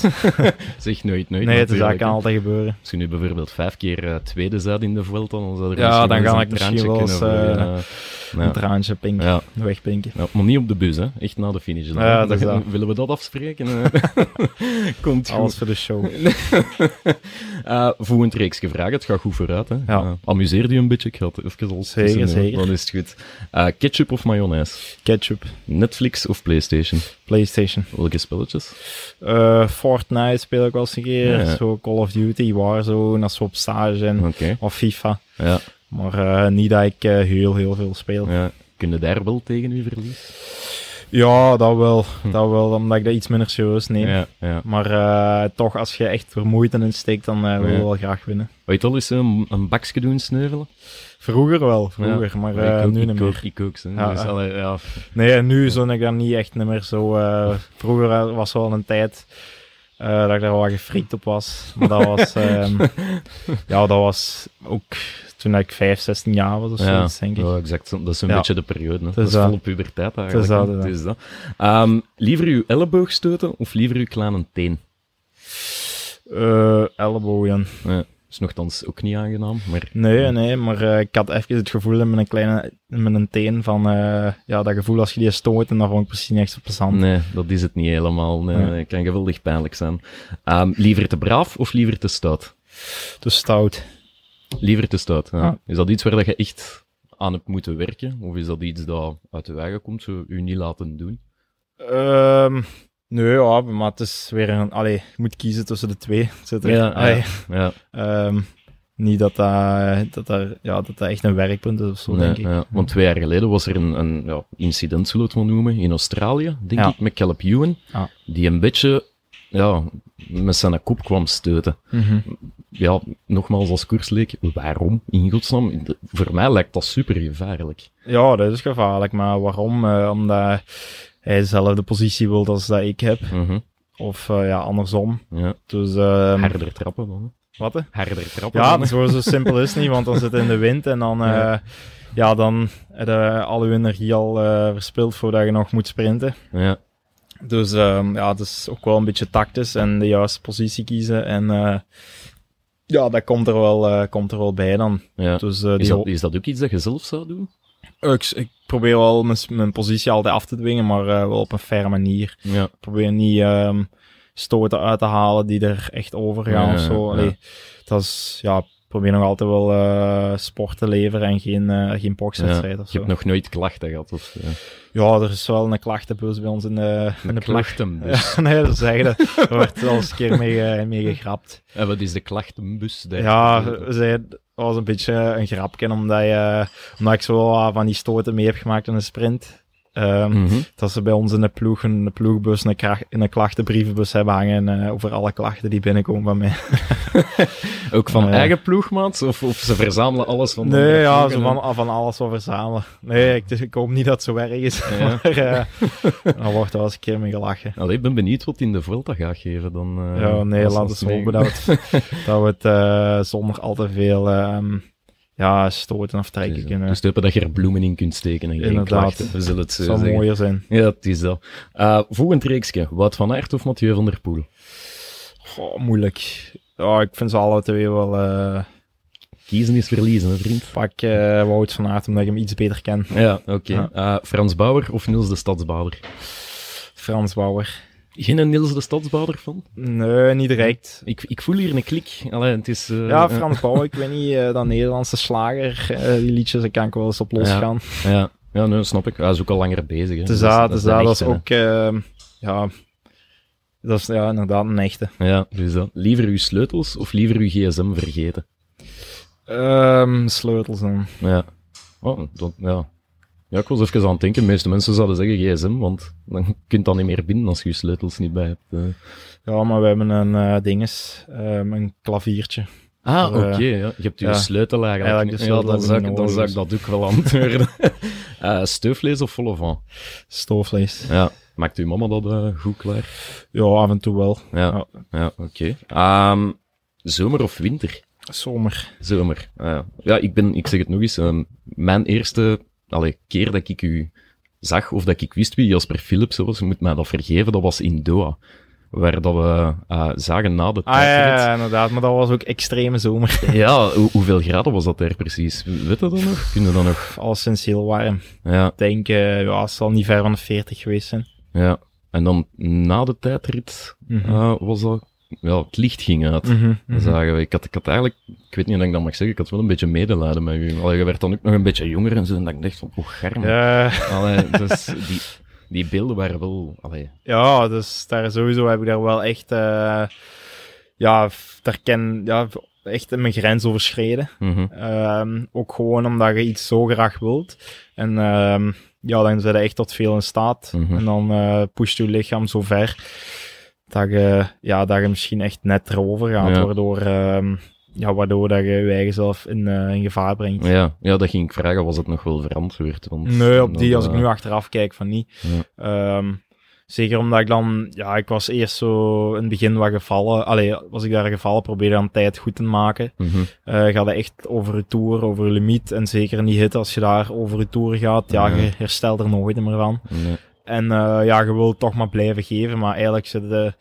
[SPEAKER 5] Zeg nooit, nooit.
[SPEAKER 2] nee, het is, dat
[SPEAKER 5] natuurlijk,
[SPEAKER 2] kan
[SPEAKER 5] hè.
[SPEAKER 2] altijd gebeuren.
[SPEAKER 5] Als je nu bijvoorbeeld vijf keer eh, tweede zet in de Vuelta, dan zou er
[SPEAKER 2] Ja,
[SPEAKER 5] misschien
[SPEAKER 2] dan
[SPEAKER 5] wel
[SPEAKER 2] ga
[SPEAKER 5] eens
[SPEAKER 2] ik
[SPEAKER 5] een
[SPEAKER 2] misschien
[SPEAKER 5] traantje
[SPEAKER 2] wel eens,
[SPEAKER 5] kunnen
[SPEAKER 2] eh,
[SPEAKER 5] vloeien,
[SPEAKER 2] Een
[SPEAKER 5] ja.
[SPEAKER 2] traantje pinken,
[SPEAKER 5] Ja.
[SPEAKER 2] wegpinken.
[SPEAKER 5] Ja, maar niet op de bus, hè. Echt na de finish. Dan.
[SPEAKER 2] Ja, dat is
[SPEAKER 5] Dan-
[SPEAKER 2] dat.
[SPEAKER 5] Willen we dat afspreken? eh? Komt goed.
[SPEAKER 2] Alles voor de show.
[SPEAKER 5] Eh volgend reeks gevraagd, het gaat goed vooruit. Hè?
[SPEAKER 2] Ja.
[SPEAKER 5] Eh, amuseer je een beetje, ik ga het even al
[SPEAKER 2] Zeker,
[SPEAKER 5] tussendoor,
[SPEAKER 2] zeker.
[SPEAKER 5] Dan is het goed. Eh, ketchup of mayonaise?
[SPEAKER 2] Ketchup,
[SPEAKER 5] Netflix of Playstation?
[SPEAKER 2] PlayStation.
[SPEAKER 5] Welke spelletjes?
[SPEAKER 2] Eh, Fortnite speel ik wel eens een keer.
[SPEAKER 5] Ja.
[SPEAKER 2] Zo Call of Duty, Warzone, als we op stage zijn.
[SPEAKER 5] Oké,
[SPEAKER 2] Of FIFA.
[SPEAKER 5] ja.
[SPEAKER 2] Maar eh, niet dat ik eh, heel, heel veel speel.
[SPEAKER 5] ja. Kunnen daar wel tegen u verliezen?
[SPEAKER 2] Ja, dat wel. Dat wel, omdat ik dat iets minder serieus neem.
[SPEAKER 5] Hm. Ja, ja.
[SPEAKER 2] Maar eh, toch, als je echt er moeite in steekt, dan eh, wil je
[SPEAKER 5] Ja.
[SPEAKER 2] wel graag winnen.
[SPEAKER 5] Weet je al eens een, een bakje doen sneuvelen?
[SPEAKER 2] Vroeger wel, vroeger, maar eh,
[SPEAKER 5] ik ook,
[SPEAKER 2] nu
[SPEAKER 5] ik
[SPEAKER 2] niet meer.
[SPEAKER 5] ook, Ik ook, zo.
[SPEAKER 2] Ja, eh.
[SPEAKER 5] Dus,
[SPEAKER 2] ja.
[SPEAKER 5] allee, ja.
[SPEAKER 2] Nee, nu zou ik dat niet echt niet meer zo... eh, vroeger eh, was wel een tijd eh, dat ik daar wel gefrikt op was. Maar dat was... ehm, ja, dat was ook toen ik 5, 16 jaar was of
[SPEAKER 5] Ja.
[SPEAKER 2] zoiets, denk ik.
[SPEAKER 5] Ja, exact. Dat is een
[SPEAKER 2] Ja.
[SPEAKER 5] beetje de periode. Hè. Dat
[SPEAKER 2] is
[SPEAKER 5] is
[SPEAKER 2] dat.
[SPEAKER 5] volle puberteit eigenlijk.
[SPEAKER 2] dat,
[SPEAKER 5] hè.
[SPEAKER 2] dat is
[SPEAKER 5] dat. Ehm, liever uw elleboog stoten of liever uw kleine teen?
[SPEAKER 2] Eh ellebogen.
[SPEAKER 5] Ja, is nogthans ook niet aangenaam, maar...
[SPEAKER 2] Nee, nee, maar eh, ik had even het gevoel in mijn, kleine, in mijn teen van... eh, ja, dat gevoel als je die stoot en dat vond ik precies niet echt zo plezant.
[SPEAKER 5] Nee, dat is het niet helemaal. Nee,
[SPEAKER 2] Nee.
[SPEAKER 5] nee, het kan geweldig pijnlijk zijn. Ehm, liever te braaf of liever te stout?
[SPEAKER 2] Te stout.
[SPEAKER 5] Liever te stout. Ja.
[SPEAKER 2] Ah.
[SPEAKER 5] Is dat iets waar dat je echt aan hebt moeten werken? Of is dat iets dat uit de wagen komt, zo u niet laten doen?
[SPEAKER 2] Ehm, nee, ja, maar het is weer een... Allee, je moet kiezen tussen de twee. Het Zit er, allee,
[SPEAKER 5] ja. ja.
[SPEAKER 2] Ehm, niet dat dat, dat, daar- ja, dat dat echt een werkpunt is of zo,
[SPEAKER 5] Nee,
[SPEAKER 2] denk ik.
[SPEAKER 5] ja. Want twee jaar geleden was er een, een ja, incident, zullen we het wel noemen, in Australië, denk
[SPEAKER 2] Ja.
[SPEAKER 5] ik, met Caleb Ewan,
[SPEAKER 2] Ja.
[SPEAKER 5] die een beetje ja, met zijn kop kwam steuten.
[SPEAKER 2] Mhm.
[SPEAKER 5] Ja, nogmaals als koersleek, waarom in godsnaam? De- Voor mij lijkt dat super gevaarlijk.
[SPEAKER 2] Ja, dat is gevaarlijk. Maar waarom? Eh, omdat hij zelf de positie wil als dat ik heb. Of eh, ja, andersom.
[SPEAKER 5] ja.
[SPEAKER 2] Dus, ehm,
[SPEAKER 5] Harder trappen dan. hè.
[SPEAKER 2] wat? hè?
[SPEAKER 5] Harder trappen
[SPEAKER 2] Ja,
[SPEAKER 5] dan. hè.
[SPEAKER 2] zo, zo simpel is het niet, want dan zit het in de wind en dan... eh, ja.
[SPEAKER 5] Ja.
[SPEAKER 2] dan heb je al je energie al eh, verspild voordat je nog moet sprinten.
[SPEAKER 5] Ja.
[SPEAKER 2] Dus ehm, ja, het is ook wel een beetje tactisch en de juiste positie kiezen. En eh, ja, dat komt er wel, eh, komt er wel bij dan.
[SPEAKER 5] Ja.
[SPEAKER 2] Dus, eh,
[SPEAKER 5] Is,
[SPEAKER 2] die
[SPEAKER 5] dat, is dat ook iets dat je zelf zou doen?
[SPEAKER 2] Ik, ik probeer wel mijn, mijn positie altijd af te dwingen, maar eh, wel op een faire manier.
[SPEAKER 5] Ja.
[SPEAKER 2] Ik probeer niet ehm, stoten uit te halen die er echt over gaan
[SPEAKER 5] Ja,
[SPEAKER 2] of zo.
[SPEAKER 5] ja.
[SPEAKER 2] Allee, dat is, ja, ik probeer nog altijd wel eh, sport te leveren en geen, eh geen
[SPEAKER 5] ja.
[SPEAKER 2] bokswedstrijd of
[SPEAKER 5] Je
[SPEAKER 2] zo.
[SPEAKER 5] hebt nog nooit klachten gehad? Of, ja.
[SPEAKER 2] Ja, er is wel een klachtenbus bij ons in de, in de ploeg.
[SPEAKER 5] klachtenbus.
[SPEAKER 2] Ja, nee, dat is echt, daar wordt wel eens een keer mee, eh, mee gegrapt.
[SPEAKER 5] En wat is de klachtenbus? daar?
[SPEAKER 2] Ja,
[SPEAKER 5] eh,
[SPEAKER 2] zij, dat was een beetje een grapje, omdat, je, omdat ik zo wel wat van die stoten mee heb gemaakt in een sprint. Ehm,
[SPEAKER 5] Mhm.
[SPEAKER 2] Dat ze bij ons in de ploeg een ploegbus, een, kracht, een klachtenbrievenbus hebben hangen eh, over alle klachten die binnenkomen bij mij.
[SPEAKER 5] Ook van
[SPEAKER 2] Eh.
[SPEAKER 5] eigen ploegmaat? Of, of ze verzamelen alles van de
[SPEAKER 2] Nee,
[SPEAKER 5] andere
[SPEAKER 2] ja,
[SPEAKER 5] ploegen
[SPEAKER 2] zo
[SPEAKER 5] en-
[SPEAKER 2] van, van alles wat verzamelen. Nee, ik, ik hoop niet dat het zo erg is,
[SPEAKER 5] Ja.
[SPEAKER 2] maar eh, dan wordt er wel eens een keer mee gelachen.
[SPEAKER 5] Allee, ik ben benieuwd wat in de Vuelta gaat geven dan. eh,
[SPEAKER 2] ja, nee,
[SPEAKER 5] als-
[SPEAKER 2] laten
[SPEAKER 5] als
[SPEAKER 2] we
[SPEAKER 5] mee-
[SPEAKER 2] hopen dat we het, dat we het eh, zonder al te veel ehm, ja, stoten of trekken
[SPEAKER 5] Dus,
[SPEAKER 2] kunnen.
[SPEAKER 5] dus hopen dat je er bloemen in kunt steken en geen
[SPEAKER 2] Inderdaad.
[SPEAKER 5] klachten. We zullen het zo
[SPEAKER 2] het eh, zou
[SPEAKER 5] zeggen.
[SPEAKER 2] mooier zijn.
[SPEAKER 5] Ja, het is dat. Eh, volgend reeksje. Wout van Aert of Mathieu van der Poel?
[SPEAKER 2] Goh, moeilijk. Ja, ik vind ze alle twee wel. eh,
[SPEAKER 5] Kiezen is verliezen, hè, vriend.
[SPEAKER 2] pak eh, Wout van Aert, omdat ik hem iets beter ken.
[SPEAKER 5] Ja, oké.
[SPEAKER 2] Ja.
[SPEAKER 5] Eh, Frans Bauer of Niels de Stadsbader?
[SPEAKER 2] Frans Bauer.
[SPEAKER 5] Geen Niels de Stadsbader van?
[SPEAKER 2] Nee, niet direct.
[SPEAKER 5] Ik, ik voel hier een klik. Allee, het is... eh,
[SPEAKER 2] Ja,
[SPEAKER 5] eh,
[SPEAKER 2] Frans Bauer, ik weet niet, eh, dat Nederlandse slager, eh, die liedjes, daar kan ik wel eens op losgaan.
[SPEAKER 5] eh, ja, ja, nee, snap ik. Hij is ook al langer bezig. Hè.
[SPEAKER 2] Dus dat, dus dat,
[SPEAKER 5] een
[SPEAKER 2] dat is
[SPEAKER 5] echte,
[SPEAKER 2] ook, eh, ja, dat is ja, inderdaad een echte.
[SPEAKER 5] hè. Ja, dus dat. Liever uw sleutels of liever uw gsm vergeten?
[SPEAKER 2] Ehm, sleutels dan.
[SPEAKER 5] Ja. Oh, dat, ja. Ja, ik was even aan het denken. De meeste mensen zouden zeggen gsm, want dan kunt dat niet meer binnen als je je sleutels niet bij hebt. eh.
[SPEAKER 2] Ja, maar we hebben een eh, dinges, ehm, een klaviertje.
[SPEAKER 5] Ah,
[SPEAKER 2] Eh,
[SPEAKER 5] oké. ja. Je hebt je
[SPEAKER 2] ja.
[SPEAKER 5] sleutel eigenlijk.
[SPEAKER 2] Eigenlijk de
[SPEAKER 5] niet. ja,
[SPEAKER 2] sleutel
[SPEAKER 5] dan zou,
[SPEAKER 2] die
[SPEAKER 5] ik, dan
[SPEAKER 2] nodig
[SPEAKER 5] zou
[SPEAKER 2] is.
[SPEAKER 5] ik dat ook wel antwoorden. Eh stoofvlees of volle van?
[SPEAKER 2] Stoofvlees.
[SPEAKER 5] Ja. Maakt uw mama dat eh, goed klaar?
[SPEAKER 2] Ja, af en toe wel.
[SPEAKER 5] Ja, ja oké. Ehm, zomer of winter?
[SPEAKER 2] Zomer.
[SPEAKER 5] Zomer. ja. ja, ik ben, ik zeg het nog eens, ehm, mijn eerste allee, keer dat ik u zag, of dat ik wist wie Jasper Philips was, je moet mij dat vergeven, dat was in Doha. Waar dat we eh, zagen na de
[SPEAKER 2] Ah ja, ja,
[SPEAKER 5] tijdrit.
[SPEAKER 2] ja, inderdaad, maar dat was ook extreme zomer.
[SPEAKER 5] Ja, hoe- hoeveel graden was dat daar precies? Weet je dat nog? Kunnen dat nog?
[SPEAKER 2] al sinds heel warm.
[SPEAKER 5] Ja,
[SPEAKER 2] Ik denk, eh, ja, het zal niet ver van de 40 geweest zijn.
[SPEAKER 5] ja. En dan na de tijdrit
[SPEAKER 2] Mhm.
[SPEAKER 5] eh, was dat... Ja, het licht ging uit. Dan zagen we. Ik had, ik had eigenlijk, ik weet niet of ik dat mag zeggen, ik had wel een beetje medelijden met u. Allee, je werd dan ook nog een beetje jonger en zo. En dat ik dacht van, oh, garm.
[SPEAKER 2] Eh,
[SPEAKER 5] Allee, dus die, die beelden waren wel... Allee,
[SPEAKER 2] ja, dus daar sowieso heb ik daar wel echt, eh, ja, f- daar ken, ja, v- echt mijn grens overschreden.
[SPEAKER 5] mhm.
[SPEAKER 2] Ehm, ook gewoon omdat je iets zo graag wilt. En ehm, ja, dan zijn je echt tot veel in staat.
[SPEAKER 5] Mhm.
[SPEAKER 2] En dan eh pusht je lichaam zo ver dat je, ja, dat je misschien echt net erover gaat,
[SPEAKER 5] Ja.
[SPEAKER 2] waardoor, ehm, ja, waardoor dat je je eigen zelf in, eh, in gevaar brengt.
[SPEAKER 5] Ja, ja, dat ging ik vragen, was het nog wel verantwoord? Want
[SPEAKER 2] Nee, op die,
[SPEAKER 5] dan,
[SPEAKER 2] als ik
[SPEAKER 5] eh,
[SPEAKER 2] nu achteraf kijk, van niet. Ehm, zeker omdat ik dan, ja, ik was eerst zo in het begin wat gevallen. Allee, was ik daar gevallen, probeerde dan tijd goed te maken.
[SPEAKER 5] mhm.
[SPEAKER 2] Eh ga dat echt over je toer, over je limiet. En zeker in die hit, als je daar over je toer gaat, ja,
[SPEAKER 5] Ja.
[SPEAKER 2] je herstelt er nooit meer van.
[SPEAKER 5] Nee.
[SPEAKER 2] En eh, ja, je wilt toch maar blijven geven, maar eigenlijk zit, de,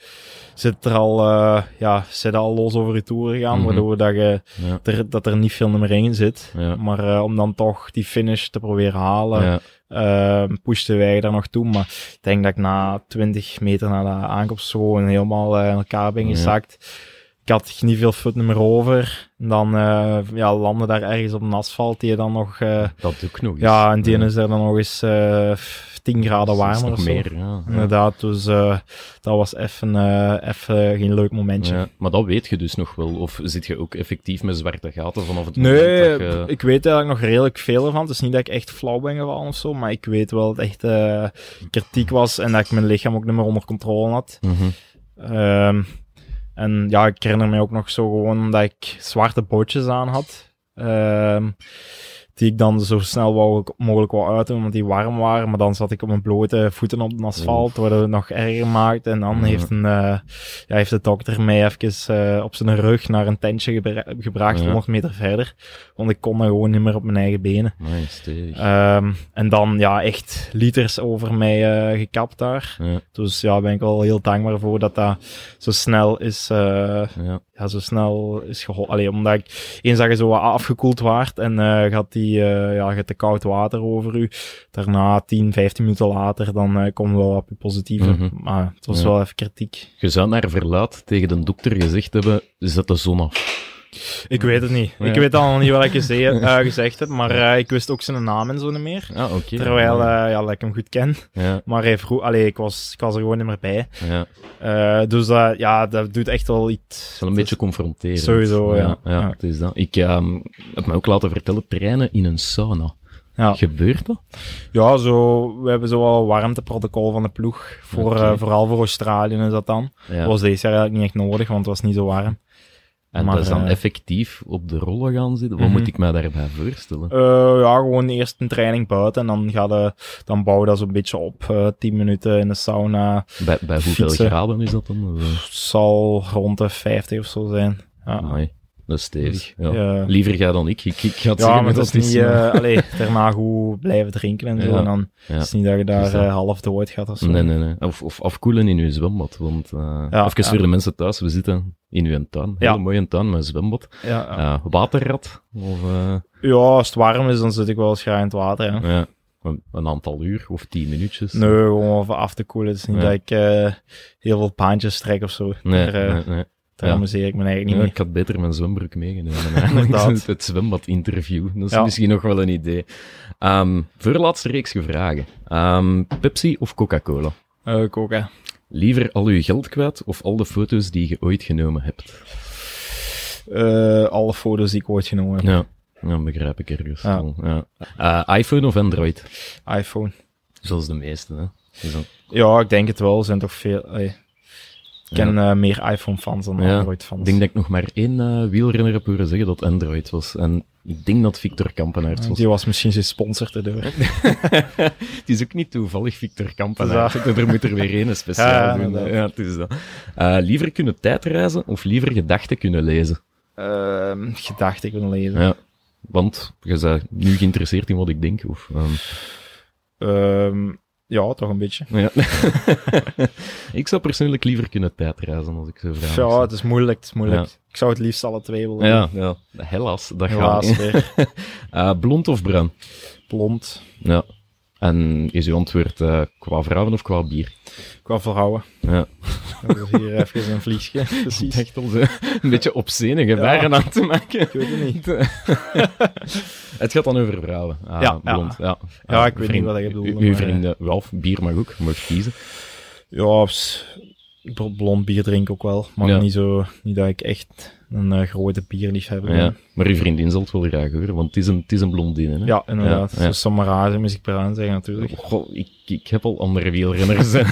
[SPEAKER 2] zit er al, eh, ja, zit al los over je toer gegaan,
[SPEAKER 5] Mhm.
[SPEAKER 2] waardoor dat, je,
[SPEAKER 5] Ja.
[SPEAKER 2] er, dat er niet veel meer in zit.
[SPEAKER 5] Ja.
[SPEAKER 2] Maar eh, om dan toch die finish te proberen halen,
[SPEAKER 5] Ja,
[SPEAKER 2] Ehm pushten wij daar nog toe. Maar ik denk dat ik na 20 meter na de aankomst gewoon helemaal eh, in elkaar ben
[SPEAKER 5] Ja.
[SPEAKER 2] gezakt. Ik had niet veel voet meer over. En Dan eh ja, landde daar ergens op een asfalt die je dan nog... eh,
[SPEAKER 5] dat doe ik nog eens.
[SPEAKER 2] ja, en die is er dan nog eens eh 10 graden
[SPEAKER 5] Soms
[SPEAKER 2] warmer
[SPEAKER 5] nog
[SPEAKER 2] of zo.
[SPEAKER 5] meer, ja. ja.
[SPEAKER 2] Inderdaad, dus eh, dat was even eh, even geen leuk momentje.
[SPEAKER 5] Ja, maar dat weet je dus nog wel. Of zit je ook effectief met zwarte gaten vanaf het moment
[SPEAKER 2] Nee,
[SPEAKER 5] dat je...
[SPEAKER 2] ik weet eigenlijk nog redelijk veel ervan. Het is niet dat ik echt flauw ben gevallen of zo, maar ik weet wel dat het echt eh, kritiek was en dat ik mijn lichaam ook niet meer onder controle had.
[SPEAKER 5] Mhm.
[SPEAKER 2] Ehm, en ja, ik herinner mij ook nog zo gewoon dat ik zwarte bootjes aan had. ehm, die ik dan zo snel mogelijk, mogelijk wou uitdoen, want die warm waren. Maar dan zat ik op mijn blote voeten op het asfalt, waardoor het nog erger maakt. En dan
[SPEAKER 5] Ja.
[SPEAKER 2] heeft, een, eh, ja, heeft de dokter mij even eh, op zijn rug naar een tentje gebra- gebracht,
[SPEAKER 5] Ja.
[SPEAKER 2] 100 meter verder. Want ik kon dan gewoon niet meer op mijn eigen benen.
[SPEAKER 5] Amai, stevig.
[SPEAKER 2] Ehm, en dan, ja, echt liters over mij eh, gekapt daar.
[SPEAKER 5] Ja,
[SPEAKER 2] Dus ja, ben ik wel heel dankbaar voor dat dat zo snel is, eh,
[SPEAKER 5] ja.
[SPEAKER 2] ja, zo snel is geholpen. Allee, omdat ik, eens dat je zo wat afgekoeld waart en eh gaat die, eh, ja, je hebt te koud water over u. Daarna, 10, 15 minuten later, dan eh komt wel wat positiever.
[SPEAKER 5] Mhm.
[SPEAKER 2] Maar het was
[SPEAKER 5] Ja.
[SPEAKER 2] wel even kritiek.
[SPEAKER 5] Je zou naar verlaat tegen de dokter gezegd hebben, zet de zon af.
[SPEAKER 2] Ik weet het niet. Ik
[SPEAKER 5] Ja.
[SPEAKER 2] weet al niet wat ik geze- eh, gezegd heb, maar eh, ik wist ook zijn naam en zo niet meer.
[SPEAKER 5] Ah, oké.
[SPEAKER 2] Terwijl eh, ja, dat ik hem goed ken.
[SPEAKER 5] Ja,
[SPEAKER 2] Maar hij vroeg, allee, ik, was, ik was er gewoon niet meer bij.
[SPEAKER 5] ja. Het
[SPEAKER 2] Eh, dus dat, ja, dat doet echt wel iets.
[SPEAKER 5] is wel een beetje confronterend.
[SPEAKER 2] Dus Sowieso, ja.
[SPEAKER 5] Ja,
[SPEAKER 2] Ja.
[SPEAKER 5] het is dat. Ik ehm, heb me ook laten vertellen, trainen in een sauna.
[SPEAKER 2] Ja.
[SPEAKER 5] Gebeurt dat?
[SPEAKER 2] Ja, zo, we hebben zo wel een warmteprotocol van de ploeg. Voor,
[SPEAKER 5] Oké.
[SPEAKER 2] eh, vooral voor Australië is dat dan.
[SPEAKER 5] Ja.
[SPEAKER 2] was deze jaar eigenlijk niet echt nodig, want het was niet zo warm.
[SPEAKER 5] en
[SPEAKER 2] maar,
[SPEAKER 5] dat is dan
[SPEAKER 2] eh,
[SPEAKER 5] effectief op de rollen gaan zitten? Wat
[SPEAKER 2] Mhm.
[SPEAKER 5] moet ik mij daarbij voorstellen?
[SPEAKER 2] Eh, ja, gewoon eerst een training buiten en dan, ga de, dan bouw je dat zo'n beetje op. eh 10 minuten in de sauna.
[SPEAKER 5] Bij, bij hoeveel
[SPEAKER 2] fietsen.
[SPEAKER 5] graden is dat dan? Eh, Of,
[SPEAKER 2] Het zal rond de 50 of zo zijn.
[SPEAKER 5] eh,
[SPEAKER 2] Ja,
[SPEAKER 5] amai, dat is stevig. Ja.
[SPEAKER 2] Dus, Ja.
[SPEAKER 5] Liever jij dan ik. Ik, ik ga het
[SPEAKER 2] ja
[SPEAKER 5] zeggen
[SPEAKER 2] maar dat is niet...
[SPEAKER 5] eh,
[SPEAKER 2] eh allee, daarna goed blijven drinken en zo.
[SPEAKER 5] Ja.
[SPEAKER 2] En dan
[SPEAKER 5] Ja.
[SPEAKER 2] is het niet dat je daar
[SPEAKER 5] Dus dat-
[SPEAKER 2] eh, half dood gaat of zo.
[SPEAKER 5] Nee, nee, nee. Of, of afkoelen in uw zwembad. Want eh
[SPEAKER 2] Ja,
[SPEAKER 5] even
[SPEAKER 2] ja.
[SPEAKER 5] voor de mensen thuis, we zitten in uw tuin. Heel
[SPEAKER 2] Ja.
[SPEAKER 5] mooie tuin met een zwembad.
[SPEAKER 2] Ja, ja.
[SPEAKER 5] Eh, waterrad. Of, eh,
[SPEAKER 2] Ja, als het warm is, dan zit ik wel eens graag in het water. hè.
[SPEAKER 5] ja, een, een aantal uur of tien minuutjes.
[SPEAKER 2] Nee, gewoon even af te koelen. Het is niet
[SPEAKER 5] Ja.
[SPEAKER 2] dat ik eh, heel veel paantjes trek of zo.
[SPEAKER 5] Nee,
[SPEAKER 2] daar eh,
[SPEAKER 5] nee, nee.
[SPEAKER 2] daar
[SPEAKER 5] ja.
[SPEAKER 2] amuseer ik me eigenlijk
[SPEAKER 5] Ja,
[SPEAKER 2] niet
[SPEAKER 5] ik had beter mijn zwembroek meegenomen. eigenlijk. het zwembadinterview. Dat is
[SPEAKER 2] Ja.
[SPEAKER 5] misschien nog wel een idee. Ehm voorlaatste reeks vragen. Ehm, Pepsi of Coca-Cola?
[SPEAKER 2] mee. Eh, ik ook, hè.
[SPEAKER 5] Liever al uw geld kwijt of al de foto's die je ooit genomen hebt?
[SPEAKER 2] Eh, alle foto's die ik ooit genomen heb.
[SPEAKER 5] Ja, dat begrijp ik ergens.
[SPEAKER 2] Ja.
[SPEAKER 5] wel, Ja. Eh, iPhone of Android?
[SPEAKER 2] iPhone.
[SPEAKER 5] Zoals de meeste, hè? Dus dan-
[SPEAKER 2] Ja, ik denk het wel. Er zijn toch veel... ey. Ik ken eh, meer iPhone-fans dan
[SPEAKER 5] Ja,
[SPEAKER 2] Android-fans.
[SPEAKER 5] Ik denk dat ik nog maar één eh, wielrenner heb horen zeggen dat Android was. En ik denk dat Victor Kampenaerts was.
[SPEAKER 2] Die was misschien gesponsord erdoor.
[SPEAKER 5] Het is ook niet toevallig Victor
[SPEAKER 2] Dat
[SPEAKER 5] Kampenaerts. Er moet er weer één speciaal
[SPEAKER 2] Ja,
[SPEAKER 5] doen.
[SPEAKER 2] inderdaad.
[SPEAKER 5] Ja, het is dat. Eh, liever kunnen tijdreizen of liever gedachten kunnen lezen?
[SPEAKER 2] Ehm gedachten kunnen lezen.
[SPEAKER 5] Ja. Want je bent nu geïnteresseerd in wat ik denk. Of, ehm,
[SPEAKER 2] Ehm, ja, toch een beetje.
[SPEAKER 5] nou ja. ik zou persoonlijk liever kunnen tijdreizen als ik zo vraag.
[SPEAKER 2] Ja, het is moeilijk. Het is moeilijk.
[SPEAKER 5] Ja.
[SPEAKER 2] Ik zou het liefst alle twee willen
[SPEAKER 5] Ja,
[SPEAKER 2] doen.
[SPEAKER 5] ja. helaas, dat gaat
[SPEAKER 2] Helaas
[SPEAKER 5] niet.
[SPEAKER 2] weer.
[SPEAKER 5] Eh, blond of bruin?
[SPEAKER 2] Blond.
[SPEAKER 5] Ja. En is uw antwoord eh, qua vrouwen of qua bier?
[SPEAKER 2] Qua verhouden.
[SPEAKER 5] Ja.
[SPEAKER 2] Dat is hier even een vliegje. Precies.
[SPEAKER 5] Echt al zo, een beetje obscene gebaren aan te maken.
[SPEAKER 2] Ik weet het niet.
[SPEAKER 5] Het gaat dan over vrouwen. Ah,
[SPEAKER 2] Ja, ja.
[SPEAKER 5] blond. Ja,
[SPEAKER 2] Ja,
[SPEAKER 5] Ah,
[SPEAKER 2] ik weet
[SPEAKER 5] vriend-
[SPEAKER 2] niet wat je bedoelde,
[SPEAKER 5] u- Uw
[SPEAKER 2] maar, eh.
[SPEAKER 5] vrienden, wel, bier mag ook, je mag kiezen.
[SPEAKER 2] Ja, ps- bl- blond bier drink ik ook wel. Maar
[SPEAKER 5] Ja.
[SPEAKER 2] niet zo, niet dat ik echt een eh, grote bierlief hebben.
[SPEAKER 5] Ja. Maar uw vriendin zal het wel graag horen, want het is een, het is een blondine. Hè?
[SPEAKER 2] Ja, inderdaad.
[SPEAKER 5] Ja, ja.
[SPEAKER 2] Dus Samarage moet ik per aan zeggen natuurlijk.
[SPEAKER 5] Goh, ik, ik heb al andere wielrenners. hè.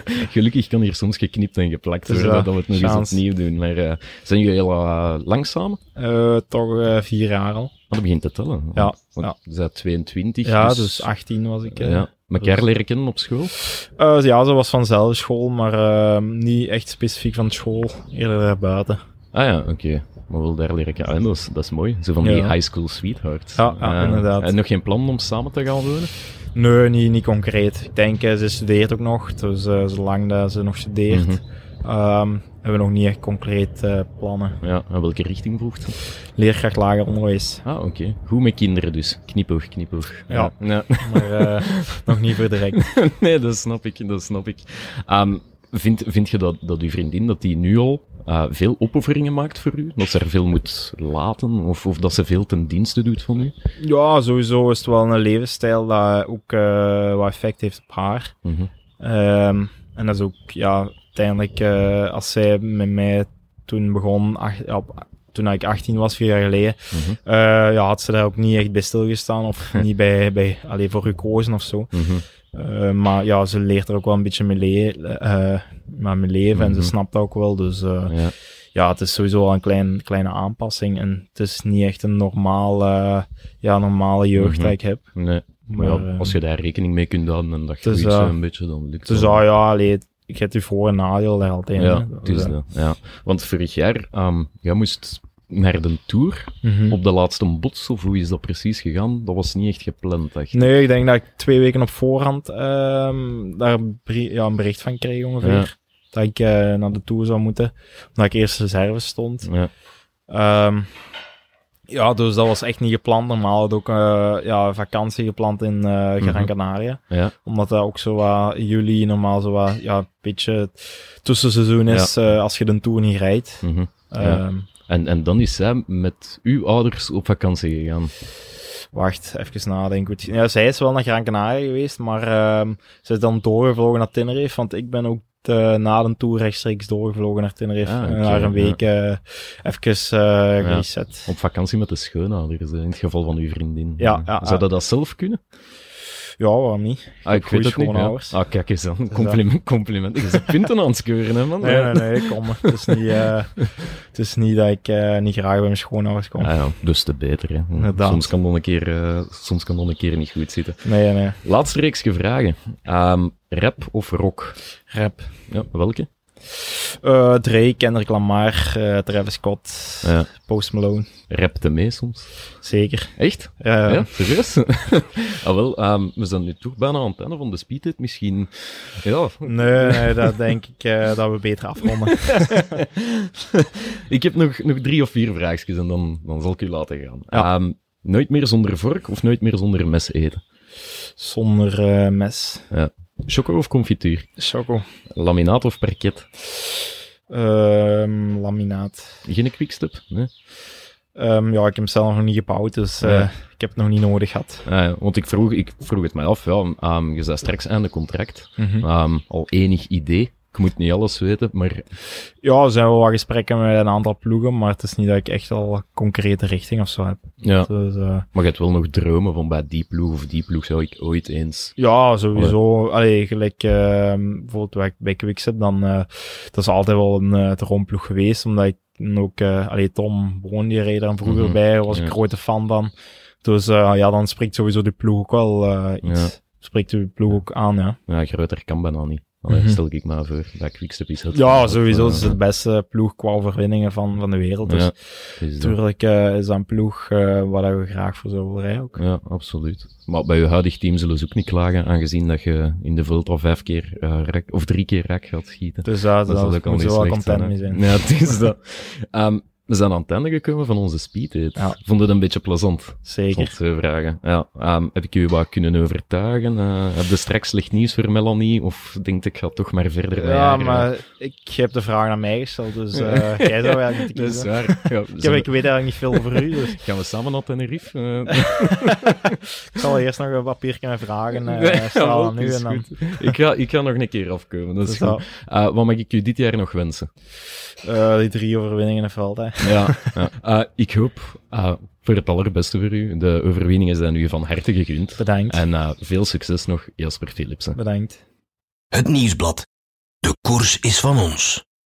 [SPEAKER 5] Gelukkig kan hier soms geknipt en geplakt
[SPEAKER 2] Dus,
[SPEAKER 5] worden,
[SPEAKER 2] eh,
[SPEAKER 5] dat we het nog eens
[SPEAKER 2] chance.
[SPEAKER 5] opnieuw doen. Maar eh, zijn jullie heel eh, langzaam? Maar
[SPEAKER 2] Eh, toch eh, vier jaar al.
[SPEAKER 5] dat begint te tellen.
[SPEAKER 2] Ja,
[SPEAKER 5] Want- want
[SPEAKER 2] ja.
[SPEAKER 5] Je bent 22.
[SPEAKER 2] Ja, dus 18 was ik. eh. dus-
[SPEAKER 5] Ja. Elkaar leren kennen op school?
[SPEAKER 2] Eh, ja, ze was vanzelf school, maar eh, niet echt specifiek van school. Eerder daarbuiten.
[SPEAKER 5] Ah ja, oké. Maar wel daar leren kennen. Ah, dat, is, dat is mooi. Zo van die
[SPEAKER 2] Ja.
[SPEAKER 5] high school sweethearts.
[SPEAKER 2] Ja, ja,
[SPEAKER 5] Ah.
[SPEAKER 2] inderdaad.
[SPEAKER 5] En nog geen plan om samen te gaan wonen?
[SPEAKER 2] Nee, niet, niet concreet. Ik denk, eh, ze studeert ook nog. Dus eh, zolang dat ze nog studeert,
[SPEAKER 5] Mhm.
[SPEAKER 2] ehm, hebben we nog niet echt concreet eh, plannen.
[SPEAKER 5] Ja, en welke richting voegt?
[SPEAKER 2] Leerkracht lager onderwijs.
[SPEAKER 5] Ah, oké. Goed met kinderen dus. Knipoog, knipoog.
[SPEAKER 2] Ja.
[SPEAKER 5] ja.
[SPEAKER 2] Maar eh, nog niet voor direct.
[SPEAKER 5] nee, dat snap ik, dat snap ik. Ehm, vind, vind je dat, dat uw vriendin, dat die nu al eh, veel opofferingen maakt voor u? Dat ze er veel moet laten? Of, of dat ze veel ten dienste doet van u?
[SPEAKER 2] Ja, sowieso is het wel een levensstijl dat ook eh, wat effect heeft op haar.
[SPEAKER 5] Mhm.
[SPEAKER 2] Ehm, en dat is ook, ja, uiteindelijk, eh, als zij met mij toen begon, ach- ja, op- toen ik 18 was, vier jaar geleden,
[SPEAKER 5] Mhm.
[SPEAKER 2] eh, ja, had ze daar ook niet echt bij stilgestaan of niet bij, bij alleen voor gekozen of zo.
[SPEAKER 5] mhm.
[SPEAKER 2] Eh, maar ja, ze leert er ook wel een beetje mee, le- eh, maar mee leven en
[SPEAKER 5] Mhm.
[SPEAKER 2] ze snapt dat ook wel. Dus eh,
[SPEAKER 5] Ja.
[SPEAKER 2] ja, het is sowieso al een klein, kleine aanpassing en het is niet echt een normaal, eh, ja, normale jeugd
[SPEAKER 5] Mhm.
[SPEAKER 2] dat ik heb.
[SPEAKER 5] Nee. Maar ja,
[SPEAKER 2] eh,
[SPEAKER 5] als je daar rekening mee kunt houden en dat
[SPEAKER 2] het is,
[SPEAKER 5] groeit zo
[SPEAKER 2] eh,
[SPEAKER 5] een beetje, dan lukt
[SPEAKER 2] Dus
[SPEAKER 5] dat.
[SPEAKER 2] ah, ja, allee, ik heb u voor- en nadeel daar altijd. hè.
[SPEAKER 5] Ja, het is
[SPEAKER 2] Dus, eh,
[SPEAKER 5] dat, ja. Want vorig jaar, ehm, jij moest naar de Tour
[SPEAKER 2] mhm.
[SPEAKER 5] op de laatste bots, of hoe is dat precies gegaan? Dat was niet echt gepland, echt.
[SPEAKER 2] Nee, ik denk dat ik twee weken op voorhand ehm, daar een brie- ja, een bericht van kreeg ongeveer.
[SPEAKER 5] Ja.
[SPEAKER 2] Dat ik eh, naar de Tour zou moeten. Omdat ik eerst reserve stond.
[SPEAKER 5] Ja.
[SPEAKER 2] Ehm, ja, dus dat was echt niet gepland. Normaal had ik ook eh, ja, vakantie gepland in eh
[SPEAKER 5] Mhm.
[SPEAKER 2] Gran Canaria.
[SPEAKER 5] Ja.
[SPEAKER 2] Omdat dat ook zo wat juli normaal zo wat, ja, een beetje tussenseizoen is eh, als je de Tour niet rijdt.
[SPEAKER 5] mhm. Ja.
[SPEAKER 2] Ehm,
[SPEAKER 5] En, en dan is zij met uw ouders op vakantie gegaan.
[SPEAKER 2] Wacht, even nadenken. Goed. Ja, zij is wel naar Gran Canaria geweest, maar ehm ze is dan doorgevlogen naar Tenerife, want ik ben ook eh, na de tour rechtstreeks doorgevlogen naar Tenerife.
[SPEAKER 5] Ah,
[SPEAKER 2] En
[SPEAKER 5] oké,
[SPEAKER 2] daar een
[SPEAKER 5] ja.
[SPEAKER 2] week eh, even eh gereset.
[SPEAKER 5] Op vakantie met de schoonouders, eh, in het geval van uw vriendin. Mhm.
[SPEAKER 2] Ja, ja,
[SPEAKER 5] Zou
[SPEAKER 2] ja.
[SPEAKER 5] dat dat zelf kunnen?
[SPEAKER 2] Ja, waarom niet?
[SPEAKER 5] Ah, ik
[SPEAKER 2] goeie
[SPEAKER 5] weet het niet. ja.
[SPEAKER 2] schoonouders.
[SPEAKER 5] Ah, kijk eens aan. Compliment, compliment. Je bent punten aan het scheuren, hè, man.
[SPEAKER 2] Nee, nee, nee, kom. Het is niet, eh, het is niet dat ik eh, niet graag bij mijn schoonouders kom.
[SPEAKER 5] Ah ja, dus te beter. Hè.
[SPEAKER 2] Inderdaad.
[SPEAKER 5] Soms kan dat een keer, eh, soms kan dat een keer niet goed zitten.
[SPEAKER 2] Nee, nee.
[SPEAKER 5] Laatste reeksje vragen. Ehm, rap of rock?
[SPEAKER 2] Rap.
[SPEAKER 5] Ja, welke?
[SPEAKER 2] Eh Drake, Kendrick Lamar, eh, Travis Scott,
[SPEAKER 5] Ja.
[SPEAKER 2] Post Malone.
[SPEAKER 5] Rap te mee soms.
[SPEAKER 2] Zeker.
[SPEAKER 5] Echt?
[SPEAKER 2] Eh,
[SPEAKER 5] Ja, serieus? ah, wel, ehm, we zijn nu toch bijna aan het einde van de speedtest. Misschien, ja,
[SPEAKER 2] Nee, nee, dat denk ik eh, dat we beter afronden.
[SPEAKER 5] ik heb nog, nog drie of vier vraagjes en dan, dan zal ik u laten gaan.
[SPEAKER 2] Ja.
[SPEAKER 5] Ehm, nooit meer zonder vork of nooit meer zonder mes eten?
[SPEAKER 2] Zonder eh, mes.
[SPEAKER 5] Choco of confituur?
[SPEAKER 2] Choco.
[SPEAKER 5] Laminaat of parket?
[SPEAKER 2] Ehm, laminaat.
[SPEAKER 5] Geen quickstep? Nee?
[SPEAKER 2] Ehm, ja, ik heb hem zelf nog niet gebouwd, dus eh,
[SPEAKER 5] Ja.
[SPEAKER 2] ik heb het nog niet nodig gehad.
[SPEAKER 5] Ah, ja, want ik vroeg, ik vroeg het mij af. Ja, ehm, je zei straks aan de contract.
[SPEAKER 2] Mhm.
[SPEAKER 5] Ehm, al enig idee. Ik moet niet alles weten, maar
[SPEAKER 2] Ja, er zijn wel wat gesprekken met een aantal ploegen, maar het is niet dat ik echt al concrete richting of zo heb.
[SPEAKER 5] ja.
[SPEAKER 2] Dus, eh,
[SPEAKER 5] Maar je hebt wel nog dromen van bij die ploeg of die ploeg zou ik ooit eens...
[SPEAKER 2] ja, sowieso. Allee, gelijk ehm, bijvoorbeeld waar ik bij Quickstep, dan eh, dat is altijd wel een eh droomploeg geweest, omdat ik dan ook... eh allee, Tom Boon, die reed dan vroeger
[SPEAKER 5] Mhm.
[SPEAKER 2] bij, was
[SPEAKER 5] Ja.
[SPEAKER 2] ik grote fan van. Dus eh, ja, dan spreekt sowieso de ploeg ook wel eh, iets. Spreekt de ploeg ook aan, ja.
[SPEAKER 5] Ja, groter kan bijna niet. Allee,
[SPEAKER 2] Mhm.
[SPEAKER 5] Stel ik maar voor. Bij quickstep is het...
[SPEAKER 2] Ja, sowieso. Het is de beste ploeg qua overwinningen van, van de wereld. Dus
[SPEAKER 5] Ja, het is dat.
[SPEAKER 2] natuurlijk eh, is dat een ploeg eh, waar we graag voor zouden willen rijden ook.
[SPEAKER 5] Ja, absoluut. Maar bij je huidig team zullen ze ook niet klagen, aangezien dat je in de vult al vijf keer eh, raak- of drie keer raak gaat schieten.
[SPEAKER 2] Dus daar
[SPEAKER 5] dat zal
[SPEAKER 2] daar
[SPEAKER 5] ook al
[SPEAKER 2] moeten
[SPEAKER 5] niet
[SPEAKER 2] we wel
[SPEAKER 5] slecht
[SPEAKER 2] content
[SPEAKER 5] zijn.
[SPEAKER 2] mee
[SPEAKER 5] hè.
[SPEAKER 2] zijn.
[SPEAKER 5] Ja, het is dat. Ehm, we zijn aan het einde gekomen van onze speeddate.
[SPEAKER 2] Ja.
[SPEAKER 5] Vond het een beetje plezant?
[SPEAKER 2] Zeker.
[SPEAKER 5] Tot twee eh, vragen. Ja, ehm, heb ik u wat kunnen overtuigen? Eh, heb je straks slecht nieuws voor Melanie? Of denkt ik ga toch maar verder naar
[SPEAKER 2] Ja,
[SPEAKER 5] haar, eh?
[SPEAKER 2] maar ik heb de vraag naar mij gesteld, dus eh, jij zou wel moeten
[SPEAKER 5] Dat is
[SPEAKER 2] kiezen.
[SPEAKER 5] waar. Ja,
[SPEAKER 2] Ik, heb,
[SPEAKER 5] zullen-
[SPEAKER 2] ik weet eigenlijk niet veel over u, dus
[SPEAKER 5] Gaan we samen naar Tenerife? Eh,
[SPEAKER 2] ik zal eerst nog een papier kunnen vragen. eh
[SPEAKER 5] Nee,
[SPEAKER 2] stel
[SPEAKER 5] jawel,
[SPEAKER 2] aan
[SPEAKER 5] het
[SPEAKER 2] nu
[SPEAKER 5] is
[SPEAKER 2] en dan.
[SPEAKER 5] goed. Ik ga, ik ga nog een keer afkomen. Dat is
[SPEAKER 2] Dus
[SPEAKER 5] goed. Eh, wat mag ik u dit jaar nog wensen?
[SPEAKER 2] eh, die drie overwinningen in veld, hè.
[SPEAKER 5] Ja, ja. Eh, ik hoop eh, voor het allerbeste voor u. De overwinning is dan u van harte gegund.
[SPEAKER 2] Bedankt.
[SPEAKER 5] En eh, veel succes nog, Jasper Philipsen.
[SPEAKER 2] Bedankt.
[SPEAKER 4] Het nieuwsblad. De koers is van ons.